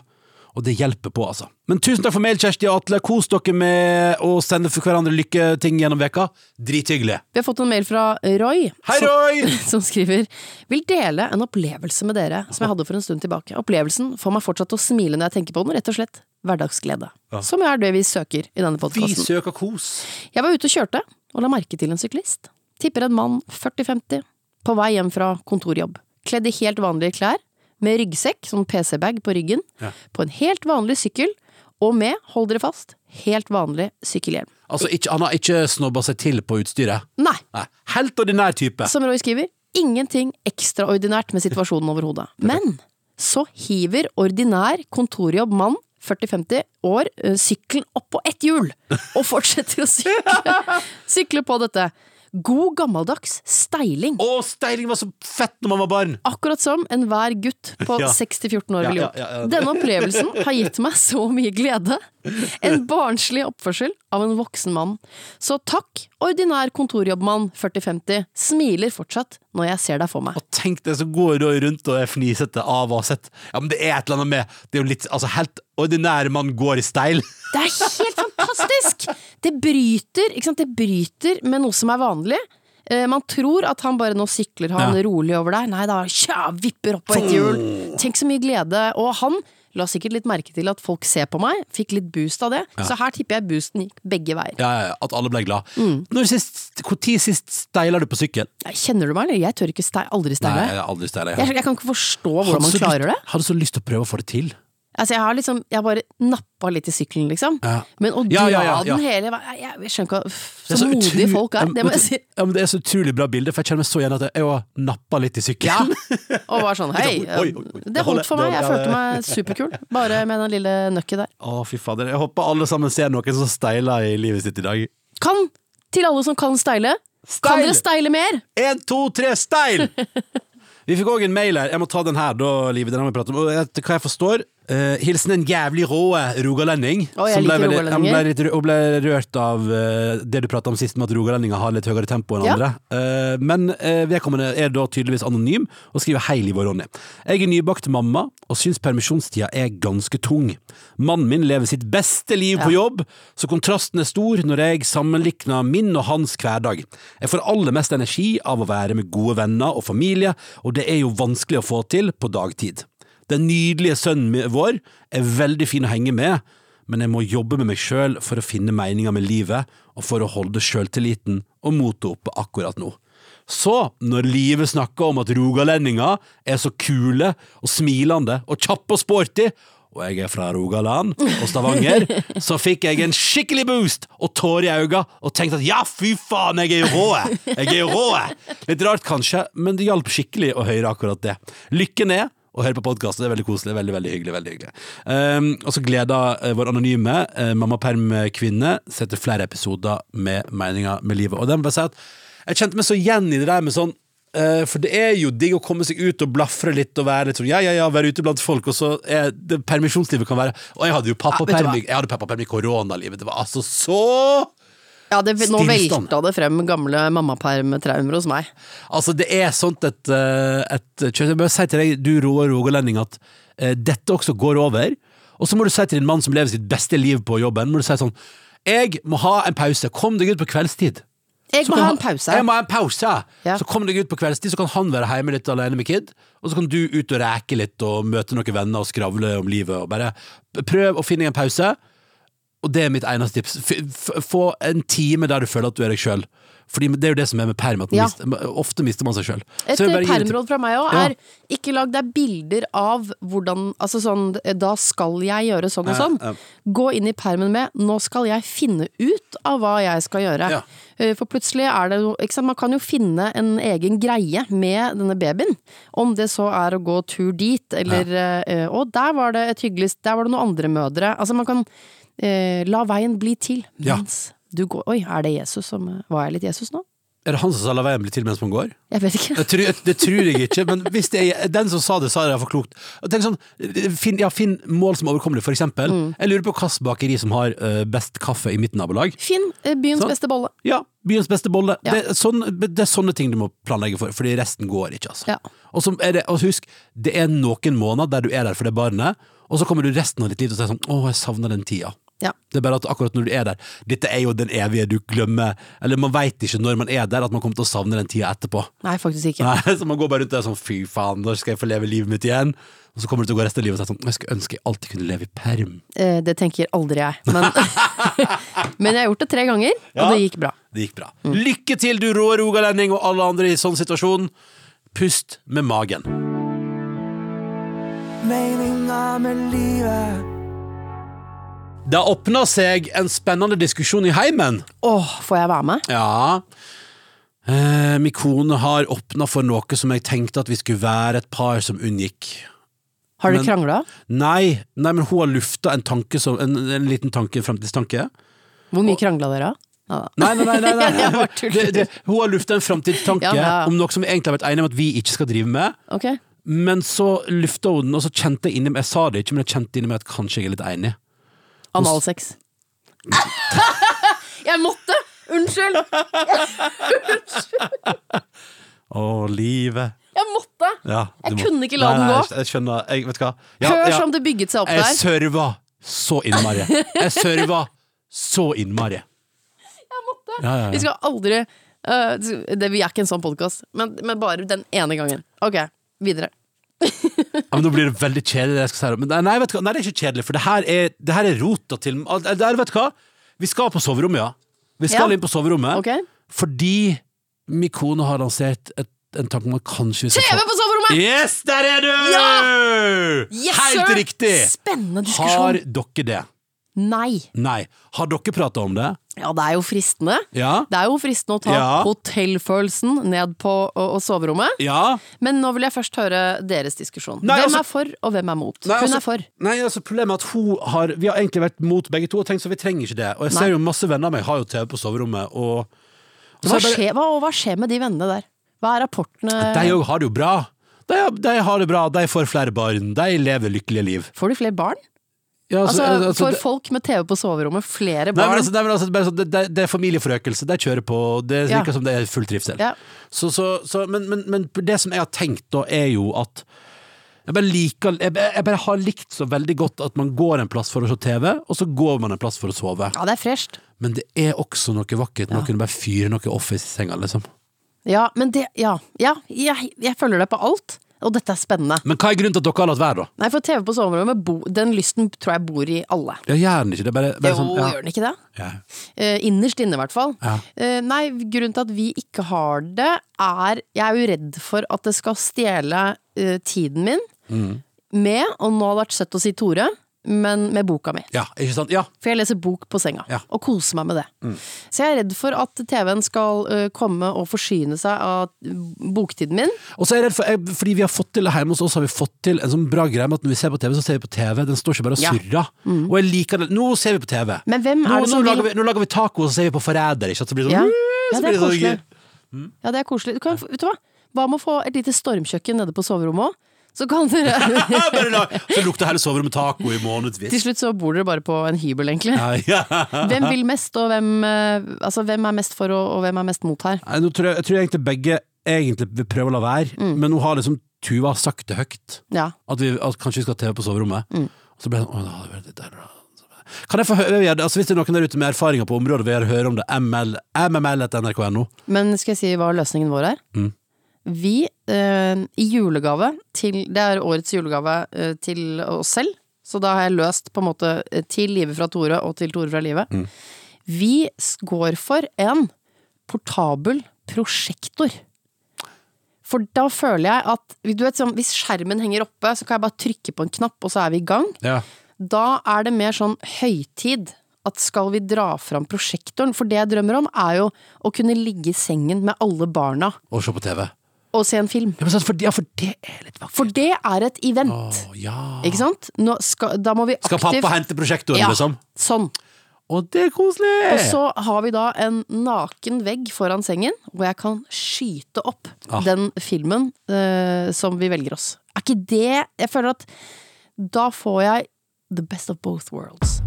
B: og det hjelper på, altså. Men tusen takk for mail, Kjersti og Atle. Kos dere med å sende for hverandre lykketing gjennom veka. Drithyggelig.
A: Vi har fått en mail fra Roy.
B: Hei,
A: som-
B: Roy!
A: Som skriver Vil dele en opplevelse med dere som jeg hadde for en stund tilbake. Opplevelsen får meg fortsatt til å smile når jeg tenker på den, rett og slett hverdagsglede. Som er det vi søker i denne
B: Vi
A: podkasten.
B: søker kos.
A: Jeg var ute og kjørte, og la merke til en syklist. Tipper en mann 40-50, på vei hjem fra kontorjobb. Kledd i helt vanlige klær, med ryggsekk, sånn PC-bag på ryggen, på en helt vanlig sykkel, og med, hold dere fast, helt vanlig sykkelhjelm.
B: Altså, ikke, han har ikke snobba seg til på utstyret.
A: Nei,
B: Nei, Helt ordinær type.
A: som Roy skriver, ingenting ekstraordinært med situasjonen overhodet. Men så hiver ordinær kontorjobb mann 40-50 år eh, sykkelen opp på ett hjul og fortsetter å sykle, sykle på dette. God gammeldags steiling.
B: Å, steiling var så fett når man var barn!
A: Akkurat som enhver gutt på
B: Ja.
A: 60-14 år
B: Ja,
A: vil
B: ja,
A: gjort.
B: ja, ja.
A: Denne opplevelsen har gitt meg så mye glede. En barnslig oppførsel av en voksen mann. Så takk, ordinær kontorjobbmann 40-50, smiler fortsatt når jeg ser deg for meg.
B: Og tenk det, så går Roy rundt og er fnisete av å ha sett. Ja, men det er et eller annet med Det er jo litt Altså, helt ordinær mann går i steil.
A: Det er helt fantastisk! Det bryter, ikke sant? Det bryter med noe som er vanlig. Eh, Man tror at han bare nå sykler han
B: Ja.
A: rolig over der. Nei da, tja, vipper opp på et hjul. Tenk så mye glede. Og han la sikkert litt merke til at folk ser på meg, fikk litt boost av det. Så her tipper jeg boosten gikk begge veier.
B: Ja, ja, ja, At alle ble glad. Når sist, hvor tid sist steila du på sykkel?
A: Kjenner du meg, eller? Jeg tør ikke steil, aldri
B: Nei,
A: steile.
B: jeg har aldri steila.
A: Jeg, jeg kan ikke forstå hvordan man klarer det.
B: Hadde så lyst til å prøve å få det til.
A: Altså, jeg har liksom, jeg har bare nappa litt i sykkelen, liksom.
B: Ja.
A: Men å dra
B: Ja, ja, ja, ja.
A: den hele veien jeg, jeg skjønner ikke hva- uff,
B: Det
A: Så,
B: er
A: modige
B: utru-
A: folk er,
B: Ja, men
A: det må
B: vet
A: jeg
B: du-
A: si.
B: Ja, men det er så utrolig bra bilde, for jeg kjenner meg så igjen at jeg òg nappa litt i sykkelen.
A: Og var sånn hei,
B: Oi, oi, oi.
A: det holdt for meg. Jeg
B: Ja, det-
A: følte meg superkul, bare med den lille nøkket der.
B: Å, fy fader. Jeg håper alle sammen ser noen som steiler i livet sitt i dag.
A: Kan, til alle som kan steile, kan
B: Steil!
A: dere steile mer?
B: En, to, tre, steil! Vi fikk òg en mail her. Jeg må ta den her, da, Live. Den har vi pratet om. Og etter hva jeg forstår eh, Hilsen en jævlig rå eh, rogalending.
A: Å, jeg
B: som ble
A: liker
B: veldig- han ble
A: rogalendinger.
B: litt, rø- og ble rørt av eh, det du prata om sist, med at rogalendinger har litt høyere tempo enn
A: Ja.
B: andre. Eh, men eh, vedkommende er da tydeligvis anonym, og skriver Hei, Liv og Ronny. Jeg er nybakt mamma, og syns permisjonstida er ganske tung. Mannen min lever sitt beste liv på jobb, så kontrasten er stor når jeg sammenlikner min og hans hverdag. Jeg får aller mest energi av å være med gode venner og familie, og det er jo vanskelig å få til på dagtid. Den nydelige sønnen min- vår er veldig fin å henge med, men jeg må jobbe med meg sjøl for å finne meninga med livet, og for å holde sjøltilliten og motet oppe akkurat nå. Så, når livet snakker om at rogalendinger er så kule og smilende og kjappe og sporty, og jeg er fra Rogaland og Stavanger, så fikk jeg en skikkelig boost og tårer i øynene og tenkte at ja, fy faen, jeg er jo rå! jeg. Jeg er jo rå! jeg. Litt rart kanskje, men det hjalp skikkelig å høre akkurat det. Lykken er å høre på podkast. Det er veldig koselig. Veldig, veldig hyggelig. veldig hyggelig um, Og så gleder eh, vår anonyme uh, mammaperm-kvinne seg til flere episoder med meninga med livet. Og den bare si at jeg kjente meg så igjen i det der med sånn eh, for det er jo digg å komme seg ut og blafre litt og være litt sånn, ja, ja, ja, være ute blant folk. Og så er det permisjonslivet kan være Og jeg hadde jo
A: Ja, vet du
B: pappaperm
A: hva?
B: i- Jeg hadde pappaperm i koronalivet. Det var altså så
A: Ja, det, nå
B: Stillstand.
A: velta det frem gamle mammapermtraumer hos meg.
B: Altså, det er sånt et, eh, et kjøtt. Jeg bare sier til deg, du rå rogalending, at eh, dette også går over. Og så må du si til din mann som lever sitt beste liv på jobben, må du si sånn Jeg må ha en pause. Kom deg ut på kveldstid.
A: Jeg
B: Så
A: må
B: kan
A: ha
B: han-
A: en pause.
B: Jeg må ha en pause.
A: Ja.
B: Så kom deg ut på kveldstid, så kan han være hjemme litt alene med kid. Og så kan du ut og reke litt og møte noen venner og skravle om livet. Og bare Prøv å finne en pause. Og det er mitt eneste tips. F f få en time der du føler at du er deg sjøl. Fordi det er jo det som er med perm, at man
A: Ja.
B: mister, ofte mister man seg sjøl.
A: Et permråd fra meg òg
B: Ja.
A: er ikke lag deg bilder av hvordan Altså sånn, da skal jeg gjøre sånn og
B: Ja,
A: sånn.
B: ja.
A: Gå inn i permen med 'nå skal jeg finne ut av hva jeg skal gjøre'.
B: Ja.
A: Eh, For plutselig er det jo ikke sant, Man kan jo finne en egen greie med denne babyen. Om det så er å gå tur dit, eller eh, 'Å, der var det et hyggelig Der var det noen andre mødre'. Altså, man kan eh, la veien bli til
B: Ja.
A: mens du går Oi, er det Jesus som eh, Var jeg litt Jesus nå?
B: Er det han som sa 'la veien bli til mens man går'?
A: Jeg vet ikke.
B: Jeg tror, det tror jeg ikke, men hvis det er, den som sa det, sa det for klokt. Og Tenk sånn, finn, ja, finn mål som er overkommelige, for eksempel.
A: Mm.
B: Jeg lurer på hvilket bakeri som har eh, best kaffe i mitt nabolag.
A: Finn eh, byens
B: Sånn.
A: beste bolle.
B: Ja, byens beste bolle.
A: Ja.
B: Det, er sånn, det er sånne ting du må planlegge for, fordi resten går ikke, altså.
A: Ja.
B: Og så er det, og husk, det er noen måneder der du er der for det barnet, og så kommer du resten av ditt liv til å si sånn, å, jeg savner den tida.
A: Ja.
B: Det er bare at akkurat når du er der, dette er jo den evige du glemmer, eller man vet ikke når man er der, at man kommer til å savne den tida etterpå.
A: Nei, faktisk ikke.
B: Nei, så man går bare rundt der sånn fy faen, når skal jeg få leve livet mitt igjen? Og så kommer du til å gå resten av livet og si sånn, jeg skulle ønske jeg alltid kunne leve i perm.
A: Eh, Det tenker aldri jeg. Men, men jeg har gjort det tre ganger,
B: Ja.
A: og det gikk bra.
B: Det gikk bra. Lykke til, du rå rogalending og alle andre i sånn situasjon. Pust med magen.
D: Meninga med livet
B: Det har åpna seg en spennende diskusjon i heimen.
A: Åh, får jeg være med?
B: Ja. Eh, min kone har åpna for noe som jeg tenkte at vi skulle være et par som unngikk.
A: Har dere
B: Men-
A: krangla?
B: Nei, nei men hun har lufta en tanke som, en, en liten tanke, en fremtidstanke.
A: Hvor mye krangla dere? Ja.
B: Nei, nei, nei, nei, nei.
A: Jeg bare tuller.
B: Det, det, hun har lufta en framtidstanke
A: Ja, ja.
B: om noe som vi egentlig har vært enige om at vi ikke skal drive med.
A: Ok.
B: Men så lufta hun den, og så kjente jeg inni meg Jeg sa det ikke, men jeg kjente inni meg at kanskje jeg er litt enig.
A: Analsex. jeg måtte! Unnskyld!
B: Å, livet.
A: Jeg måtte!
B: Ja,
A: Jeg
B: du
A: kunne ikke la den
B: Nei,
A: gå.
B: Jeg, jeg skjønner. Jeg, vet du hva. Ja,
A: Hør
B: ja.
A: som det bygget seg opp
B: Jeg
A: der.
B: serva så innmari. Jeg serva så innmari.
A: Jeg måtte!
B: Ja, ja,
A: Vi
B: ja.
A: skal aldri øh, det, Vi er ikke en sånn podkast, men, men bare den ene gangen. Ok, videre.
B: Ja, men nå blir det veldig kjedelig, det jeg skal si. Men nei, nei, vet du hva? nei, det er ikke kjedelig, for det her er, det her er rota til det her, Vet du hva? Vi skal på soverommet, ja. Vi skal
A: Ja.
B: inn på soverommet.
A: Ok?
B: Fordi min kone har lansert et, en tanke om at kanskje vi skal
A: TV på soverommet!
B: Yes, der er du!
A: Yes,
B: Helt
A: sir!
B: riktig!
A: Spennende
B: Har
A: diskusjon.
B: dere det?
A: Nei.
B: Nei. Har dere prata om det?
A: Ja, det er jo fristende.
B: Ja?
A: Det er jo fristende å ta
B: Ja.
A: hotellfølelsen ned på og, og soverommet.
B: Ja?
A: Men nå vil jeg først høre deres diskusjon.
B: Nei,
A: hvem
B: altså-
A: er for, og hvem er mot?
B: Nei,
A: Hun
B: altså-
A: er for.
B: Nei, altså problemet er at hun har Vi har egentlig vært mot begge to og tenkt så vi trenger ikke det. Og jeg
A: Nei.
B: ser jo masse venner av meg har jo TV på soverommet, og, og
A: Hva
B: så er det bare-
A: skjer, hva, og hva skjer med de vennene der? Hva er rapportene?
B: De òg har det jo bra. De, de har det bra, de får flere barn, de lever lykkelige liv.
A: Får de flere barn?
B: Ja,
A: Altså,
B: altså,
A: Får
B: det-
A: folk med TV på soverommet flere
B: Nei, men
A: barn?
B: altså, nei, men altså, bare sånn, det, det- det er familieforøkelse. De kjører på. Det
A: Ja.
B: virker som det er full trivsel.
A: Ja.
B: Så, så, så, men, men, men det som jeg har tenkt da, er jo at jeg bare, liker, jeg, jeg bare har likt så veldig godt at man går en plass for å se TV, og så går man en plass for å sove.
A: ja, det er fresht.
B: Men det er også noe vakkert med å kunne bare fyre noe Office i senga, liksom.
A: Ja, men det Ja, ja jeg, jeg følger deg på alt. Og dette er spennende.
B: Men hva er grunnen til at dere har latt være, da?
A: Nei, for TV på soverommet, bo, den lysten tror jeg bor i alle.
B: Ja, gjør den ikke det? Bare, bare
A: Jo,
B: sånn, ja.
A: gjør den ikke det?
B: Ja.
A: Eh, innerst inne, i hvert fall.
B: Ja.
A: Eh, nei, grunnen til at vi ikke har det, er Jeg er jo redd for at det skal stjele eh, tiden min
B: Mm.
A: med Og nå hadde det vært søtt å si Tore, men med boka mi.
B: ja, ikke sant? Ja.
A: For jeg leser bok på senga,
B: Ja. Mm.
A: og koser meg med det. Så jeg er redd for at TV-en skal eh, komme og forsyne seg av boktiden min.
B: Og så er jeg redd for, jeg, fordi vi har fått til hjemme hos oss har vi fått til en sånn bra greie med at når vi ser på TV, så ser vi på TV. Den står ikke bare og
A: Ja. Mm.
B: surrer. Og jeg liker det. Nå ser vi på TV.
A: Men hvem er
B: nå,
A: det som
B: nå,
A: vil-
B: lager vi, nå lager vi taco, og så ser vi på Forræder. Ikke? sant? Så blir det
A: Ja.
B: sånn,
A: Ja,
B: så
A: det
B: blir
A: er
B: det sånn-
A: koselig. Ja, det er koselig. Du kan, vet du hva? Hva med å få et lite stormkjøkken nede på soverommet òg? Så kan dere
B: Ja, bare lag- Så lukter hele soverommet taco i månedsvis.
A: Til slutt så bor dere bare på en hybel, egentlig.
B: Ja, ja.
A: Hvem vil mest, og hvem, eh, altså, hvem er mest for, og, og hvem er mest mot her?
B: Nei, nå tror jeg, jeg tror egentlig begge egentlig vil prøve å la være,
A: Mm.
B: men nå har liksom Tuva sagt det høyt.
A: Ja.
B: At, vi, at kanskje vi skal ha TV på soverommet. Og så ble jeg sånn, «Åh, da hadde det vært litt der, da». Så bare, Kan jeg få høre, vi er- altså Hvis det er noen der ute med erfaringer på området, vil jeg høre om det. ML, MML etter nrk.no.
A: Men skal jeg si hva løsningen vår er?
B: Mm.
A: Vi, eh, i julegave til Det er årets julegave eh, til oss selv. Så da har jeg løst på en måte eh, til livet fra Tore og til Tore fra livet. Vi s- går for en portabel prosjektor. For da føler jeg at du vet, sånn, Hvis skjermen henger oppe, så kan jeg bare trykke på en knapp, og så er vi i gang.
B: Ja.
A: Da er det mer sånn høytid. At skal vi dra fram prosjektoren? For det jeg drømmer om, er jo å kunne ligge i sengen med alle barna
B: Og se på TV. Ja,
A: og se en film.
B: men sant, for, ja, for det er litt vakkert.
A: For det er et event.
B: Å, ja.
A: Ikke sant? Nå skal, da må vi aktivt
B: Skal pappa hente prosjektoren,
A: Ja,
B: liksom?
A: Sånn.
B: Og det er koselig!
A: Og så har vi da en naken vegg foran sengen, hvor jeg kan skyte opp
B: Ah.
A: den filmen eh, som vi velger oss. Er ikke det Jeg føler at da får jeg the best of both worlds.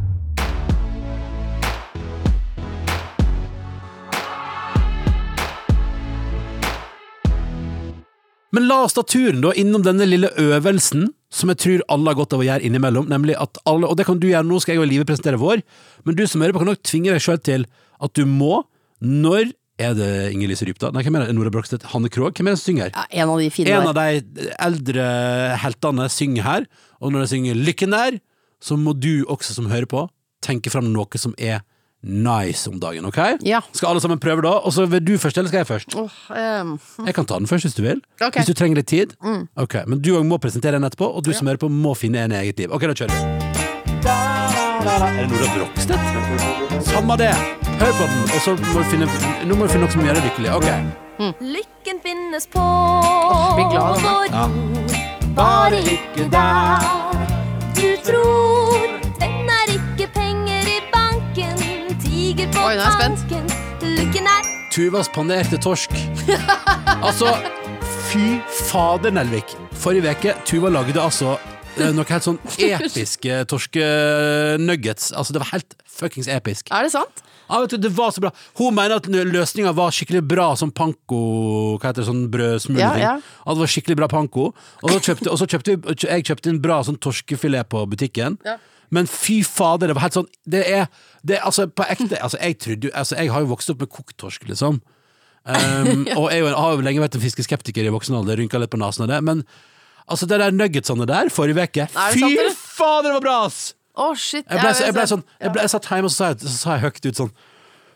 B: Men la oss ta turen da innom denne lille øvelsen som jeg tror alle har godt av å gjøre innimellom, nemlig at alle, og det kan du gjøre nå, skal jeg og Live presentere vår, men du som hører på kan nok tvinge deg selv til at du må, når er det Inger-Lise Rypdal? Nei, hvem er det? Nora Brokstedt? Hanne Krogh? Hvem er det som synger her?
A: Ja, en av de fine
B: En
A: der.
B: av de eldre heltene synger her, og når de synger lykken der, så må du også som hører på, tenke frem noe som er nice om dagen, ok?
A: Ja.
B: Skal alle sammen prøve da, og så vil du først, eller skal jeg først?
A: Åh, ehm,
B: Jeg kan ta den først hvis du vil.
A: Ok.
B: Hvis du trenger litt tid. Ok, Men du òg må presentere en etterpå, og du som hører på, må finne en i eget liv. Ok, da kjører vi. Er det Nora Brogstedt? Samme det. Hør på den, og så må du finne, nå må du finne noe som gjør deg lykkelig. Ok.
G: Lykken finnes på
A: blir glad av
G: vår jord. Bare ikke der du tror. Den er ikke penger i banken, tiger på
A: Oi, nå er jeg spent.
G: tanken. Lykken er
B: Tuvas panerte torsk. Altså, fy fader, Nelvik. Forrige uke, Tuva lagde altså eh, noe helt sånn episke torskenuggets. Altså, det var helt fuckings episk.
A: er det sant?
B: Ja, Ah, vet du, det var så bra Hun mener at løsninga var skikkelig bra som panko Hva heter det, sånn brødsmulting
A: Ja, ja.
B: At det var skikkelig bra panko Og så kjøpte, og så kjøpte vi, jeg kjøpte en bra sånn torskefilet på butikken
A: Ja.
B: Men fy fader, det var helt sånn Det er, det er altså på ekte altså, jeg, trodde, jo- altså, jeg har jo vokst opp med koktorsk liksom um, Og jeg er jo en- har jo lenge vært en fiskeskeptiker i voksen alder Rynka litt på nasen av det Men altså, det der nuggetsene der forrige veke
A: Er det
B: Fy
A: sant, eller?
B: fader, det var bra ass
A: Å, shit.
B: jeg ble, så, jeg ble
A: vet
B: sånn
A: det.
B: jeg, ble, jeg satt hjemme og så sa jeg, så sa jeg høyt ut sånn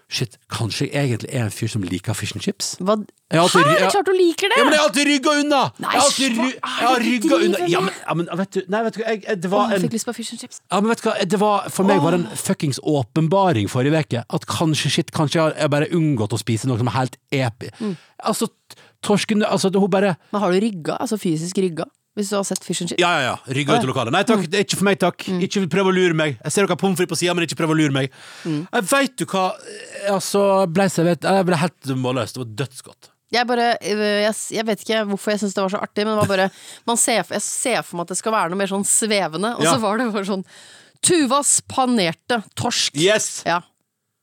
B: Shit, kanskje jeg egentlig er en fyr som liker fish and chips?
A: Hva?
B: Jeg
A: Hæ,
B: har alltid-
A: det
B: jeg-
A: er klart du liker det!
B: Ja, men jeg har alltid rygga unna!
A: Nei,
B: jeg har
A: hva
B: alltid ry-
A: er det
B: jeg
A: du
B: har rygga
A: driver
B: unna. Ja,
A: med?
B: men, ja, men vet du, nei, vet du, hva, jeg, jeg,
A: Åh,
B: det var
A: jeg
B: en
A: fikk lyst på fish and chips.
B: ja, men vet du hva, det var, For meg var det en fuckings åpenbaring forrige uke. At kanskje shit, kanskje jeg har jeg bare unngått å spise noe som er helt epi.
A: Mm.
B: Altså, t- torsken altså, Hun bare
A: Men har du rygga? Altså fysisk rygga? Hvis du har sett fish and chips?
B: Ja, ja, ja. Rygga ut av lokalet. Nei
A: Mm.
B: takk, det er ikke for meg, takk. Ikke prøv å lure meg. Jeg ser dere har pommes frites på sida, men ikke prøv å lure meg.
A: Mm.
B: Jeg Veit du hva Altså, ble servert Jeg ble helt målløs. Det var dødsgodt.
A: Jeg bare, øh, jeg, s- jeg vet ikke hvorfor jeg syntes det var så artig, men det var bare, man ser, jeg ser for meg at det skal være noe mer sånn svevende, og
B: Ja.
A: så var det bare sånn Tuvas panerte torsk.
B: Yes!
A: Ja.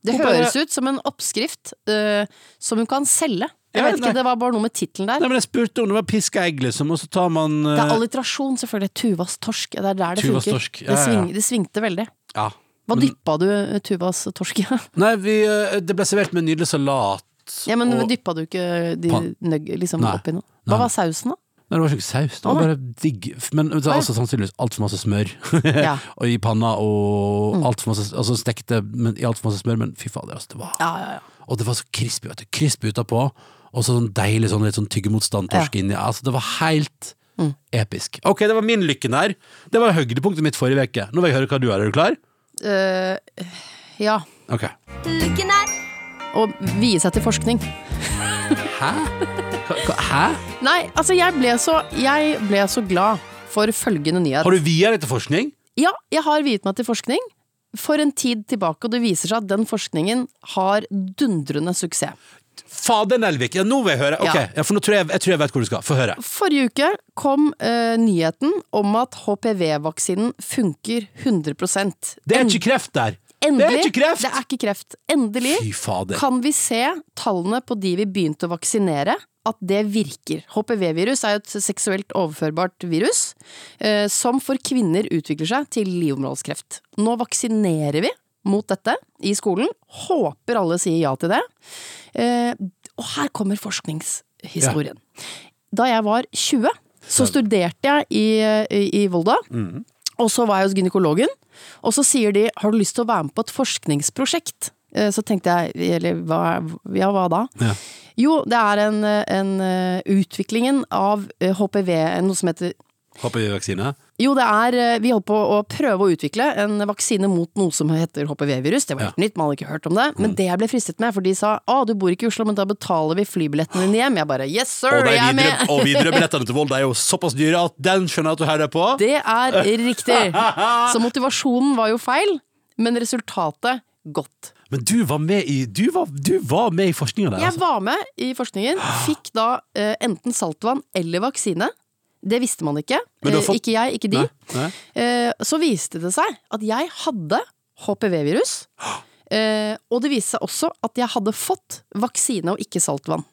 A: Det
B: Hun bare-
A: høres ut som en oppskrift øh, som hun kan selge. Jeg
B: Ja,
A: vet ikke,
B: nei.
A: Det var bare noe med tittelen
B: Nei,
A: der.
B: men jeg spurte om det var piska egg, liksom, og så tar man
A: Det
B: eh,
A: er alliterasjon, selvfølgelig. Tuvas torsk. Det er der det
B: Tuvas
A: funker.
B: torsk, ja,
A: det,
B: ja, ja.
A: sving, det svingte veldig.
B: Ja.
A: Hva
B: Men-
A: dyppa du øh, Tuvas torsk i?
B: Nei, vi, eh, det ble servert med nydelig salat.
A: ja, men
B: og-
A: dyppa du ikke de
B: Pan-
A: nøgg, liksom,
B: Nei.
A: oppi noe? Hva
B: Nei, nei.
A: var sausen, da?
B: Nei, det var ikke saus. Det
A: Å,
B: var
A: nei.
B: bare digg. Men det var altså, sannsynligvis altfor masse smør
A: Ja. Mm.
B: Og i panna, og alt for masse Altså stekte men, i altfor masse smør, men fy fader, altså, det var
A: Ja, ja, ja.
B: Og det var så crispy, vet du. Crispy utapå, og så sånn deilig sånn, litt sånn tyggemotstand torsk inni. Altså, det var helt
A: Mm.
B: episk. Ok, det var min lykke der. Det var høydepunktet mitt forrige uke. Nå vil jeg høre hva du har. Er du klar?
A: Øh, ja.
B: Ok.
G: Lykken er
A: Å vie seg til forskning.
B: Hæ? Hva, hva, hæ?
A: Nei, altså jeg ble så, jeg ble så glad for følgende nyhet.
B: Har du via deg til forskning?
A: Ja, jeg har viet meg til forskning for en tid tilbake, og det viser seg at den forskningen har dundrende suksess.
B: Fader Nelvik, ja, nå vil jeg høre. Ok,
A: Ja.
B: ja. for nå tror jeg, jeg tror jeg vet hvor du skal. Få høre.
A: Forrige uke kom eh, nyheten om at HPV-vaksinen funker 100
B: Det er ikke kreft der!
A: Endelig,
B: det er ikke kreft!
A: Det er ikke kreft. Endelig
B: Fy fader.
A: kan vi se tallene på de vi begynte å vaksinere, at det virker. HPV-virus er jo et seksuelt overførbart virus eh, som for kvinner utvikler seg til livmorhalskreft. Nå vaksinerer vi mot dette i skolen. Håper alle sier ja til det. Eh, og her kommer forskningshistorien. Da jeg var 20, så studerte jeg i, i, i Volda.
B: Mhm.
A: Og så var jeg hos gynekologen, og så sier de 'har du lyst til å være med på et forskningsprosjekt'? Eh, eh, så tenkte jeg Eller hva, ja, hva da?
B: Ja.
A: Jo, det er en, eh, en eh, utviklingen av eh, HPV, eh, noe som heter
B: HPV-vaksine.
A: jo, det er, eh, vi holdt på å prøve å utvikle en vaksine mot noe som heter HPV-virus. Det var helt nytt, man hadde ikke hørt om det.
B: Mm.
A: Men det jeg ble fristet med, for de sa å, du bor ikke i Oslo, men da betaler vi flybilletten din hjem. Jeg bare yes sir,
B: Og de
A: jeg er
B: videre,
A: med!
B: og videre billettene til Volda er jo såpass dyre at den skjønner jeg at du heier deg på.
A: Det er riktig. Så motivasjonen var jo feil, men resultatet godt.
B: Men du var med i, du var, du var med i forskninga der,
A: Jeg
B: altså.
A: var med i forskningen, fikk da eh, enten saltvann eller vaksine. Det visste man ikke.
B: Men du har
A: Eh,
B: fått-
A: Ikke jeg, ikke de.
B: Nei, nei.
A: Eh, Så viste det seg at jeg hadde HPV-virus. Eh, Og det viste seg også at jeg hadde fått vaksine og ikke saltvann.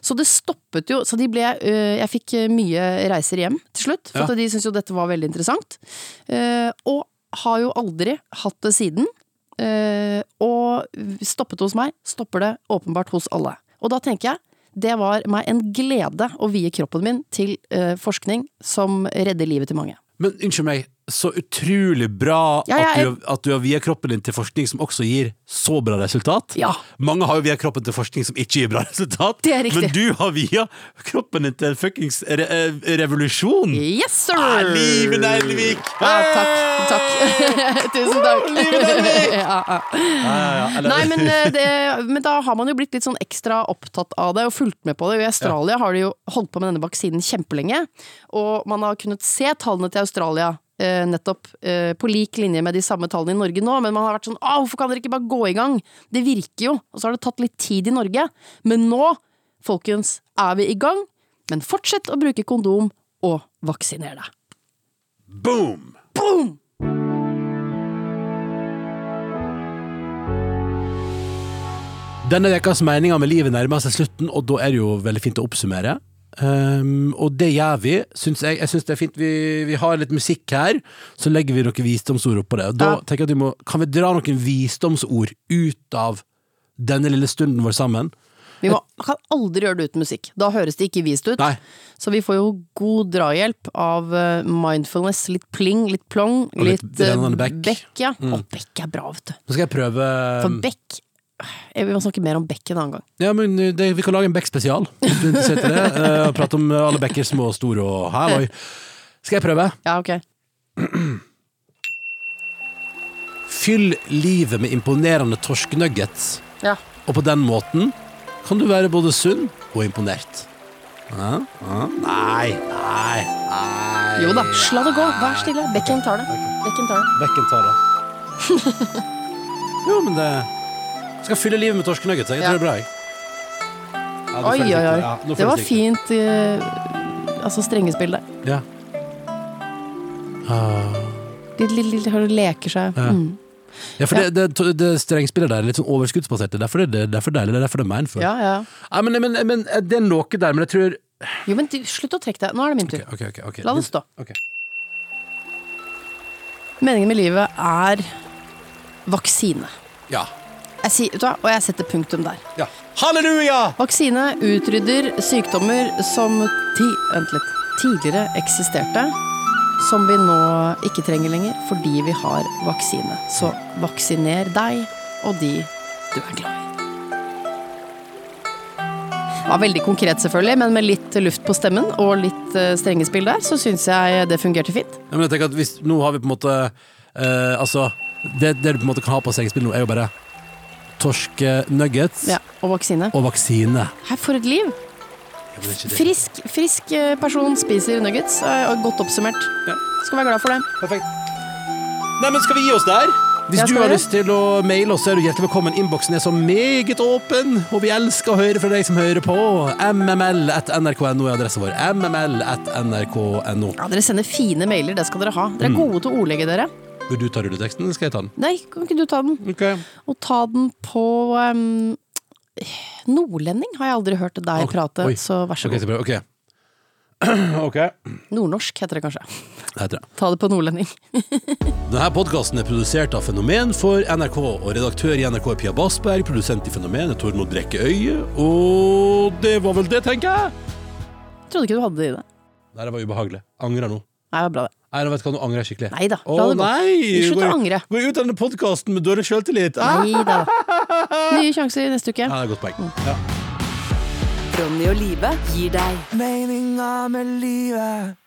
A: Så det stoppet jo Så de ble, eh, jeg fikk eh, mye reiser hjem til slutt, for
B: Ja.
A: at de syntes jo dette var veldig interessant. Eh, Og har jo aldri hatt det siden. Eh, Og stoppet hos meg, stopper det åpenbart hos alle. Og da tenker jeg det var meg en glede å vie kroppen min til eh, forskning som redder livet til mange.
B: Men unnskyld meg, så utrolig bra
A: Ja, ja,
B: at, du, at du har viet kroppen din til forskning som også gir så bra resultat.
A: Ja.
B: Mange har jo viet kroppen til forskning som ikke gir bra resultat.
A: Det er riktig.
B: Men du har viet kroppen din til en fuckings re eh, revolusjon.
A: Yes, sir!
B: Ah, Liven Eilevik!
A: Ja, takk. takk. Tusen takk. ja, ja. Nei, men, eh, det, men da har man jo blitt litt sånn ekstra opptatt av det og fulgt med på det. Og I Australia har de jo holdt på med denne vaksinen kjempelenge, og man har kunnet se tallene til Australia. eh, nettopp eh, på lik linje med de samme tallene i Norge nå, men man har vært sånn Å, hvorfor kan dere ikke bare gå i gang? Det virker jo. Og så har det tatt litt tid i Norge. Men nå, folkens, er vi i gang. Men fortsett å bruke kondom og vaksiner deg.
B: Boom! Denne ukas meninger med livet nærmer seg slutten, og da er det jo veldig fint å oppsummere. Ehm, og det gjør vi, syns jeg. Jeg synes det er fint Vi, vi har litt musikk her, så legger vi noen visdomsord oppå det. Og da
A: Ja.
B: tenker jeg at vi må, Kan vi dra noen visdomsord ut av denne lille stunden vår sammen?
A: Vi må, kan aldri gjøre det uten musikk. Da høres det ikke vist ut.
B: Nei.
A: Så vi får jo god drahjelp av eh, mindfulness. Litt pling, litt plong,
B: Og litt Mm.
A: litt, eh,
B: rennende bekk.
A: ja. Og bekk er bra, vet du.
B: Nå skal jeg prøve
A: For
B: Um.
A: bekk Jeg vil snakke mer om bekk en annen gang.
B: Ja, men eh, det, Vi kan lage en Beck-spesial. Hvis du er interessert i det. eh, og prate om alle bekker små og store og halloi. Skal jeg prøve?
A: Ja, ok.
B: Fyll livet med imponerende torskenuggets,
A: Ja.
B: og på den måten kan du være både sunn og imponert. Hæ? Hæ? Nei, nei, nei
A: Jo da, la det gå. Vær stille. Bekken tar det. Bekken tar det.
B: Bekken tar det. jo, men det Skal fylle livet med torskenuggets. Jeg
A: Ja.
B: tror det er bra, jeg. Ja, nå
A: Oi,
B: føles
A: oi,
B: riktig. Ja,
A: oi.
B: nå
A: Det
B: føles
A: var
B: riktig.
A: fint eh, Altså strengespill der.
B: Ja.
A: Litt, litt, litt, hører det leker seg. Mm.
B: Ja, for Det, det, det strengspillet der er litt sånn overskuddsbasert. Det er Derfor det, det er derfor deilig. Det er derfor det er mindful.
A: Ja, ja.
B: Nei, men, men, men det er noe der, men jeg tror
A: Jo, men du, slutt å trekke deg. Nå er det min tur.
B: Ok, ok, ok.
A: La det stå.
B: Ok.
A: Meningen med livet er vaksine.
B: Ja.
A: Jeg sier, vet du hva, og jeg setter punktum der.
B: ja. Halleluja!
A: Vaksine utrydder sykdommer som ti, vent litt, tidligere eksisterte, som vi nå ikke trenger lenger fordi vi har vaksine. Så vaksiner deg og de du er glad i. Ja, veldig konkret, selvfølgelig, men med litt luft på stemmen og litt eh, strengespill der, så syns jeg det fungerte fint.
B: Ja, men jeg tenker at hvis, nå har vi på en måte eh, Altså, det, det du på en måte kan ha på sengespill nå, er jo bare torskenuggets
A: Ja, og vaksine.
B: og vaksine.
A: Her, for et liv!
B: Ja, men det er ikke det.
A: Frisk, frisk eh, person spiser nuggets. eh, og Godt oppsummert.
B: Ja.
A: Skal være glad for det.
B: Perfekt. Nei, men skal vi gi oss der? Hvis
A: Ja,
B: du
A: skal
B: har
A: vi?
B: lyst til å maile oss, så er du hjertelig velkommen. Innboksen er så meget åpen, og vi elsker å høre fra deg som hører på. mml.nrk.no er adressen vår. mml.nrk.no.
A: Ja, dere sender fine mailer, det skal dere ha.
B: Mm.
A: Dere er gode til å ordlegge dere.
B: Vil du ta rulleteksten, eller skal jeg ta den?
A: Nei, kan ikke du ta den? Og ta den på ehm, Nordlending har jeg aldri hørt deg
B: Ok,
A: prate,
B: oi.
A: så vær så
B: Ok,
A: god.
B: så bra. Ok. ok.
A: Nordnorsk heter det kanskje.
B: Det heter det.
A: Ta det på nordlending.
B: Denne podkasten er produsert av Fenomen for NRK, og redaktør i NRK er Pia Basberg, produsent i Fenomen er Tormod Brekke Øye, og det var vel det, tenker jeg.
A: Jeg trodde ikke du hadde det i deg.
B: Nei, det var ubehagelig. Angrer nå.
A: Nei, det var bra, det.
B: Nei, nå vet du hva, nå angrer jeg skikkelig.
A: Nei da,
B: Å
A: la det gå.
B: nei!
A: Slutt å
B: Går-
A: angre.
B: Går jeg ut av denne podkasten med dårlig sjøltillit? Ah!
A: Nei da. Nye sjanser neste uke.
B: Ja, det er et godt
A: Mm.
B: poeng. Ja.
C: Ronny og Live gir deg
D: meninga med livet.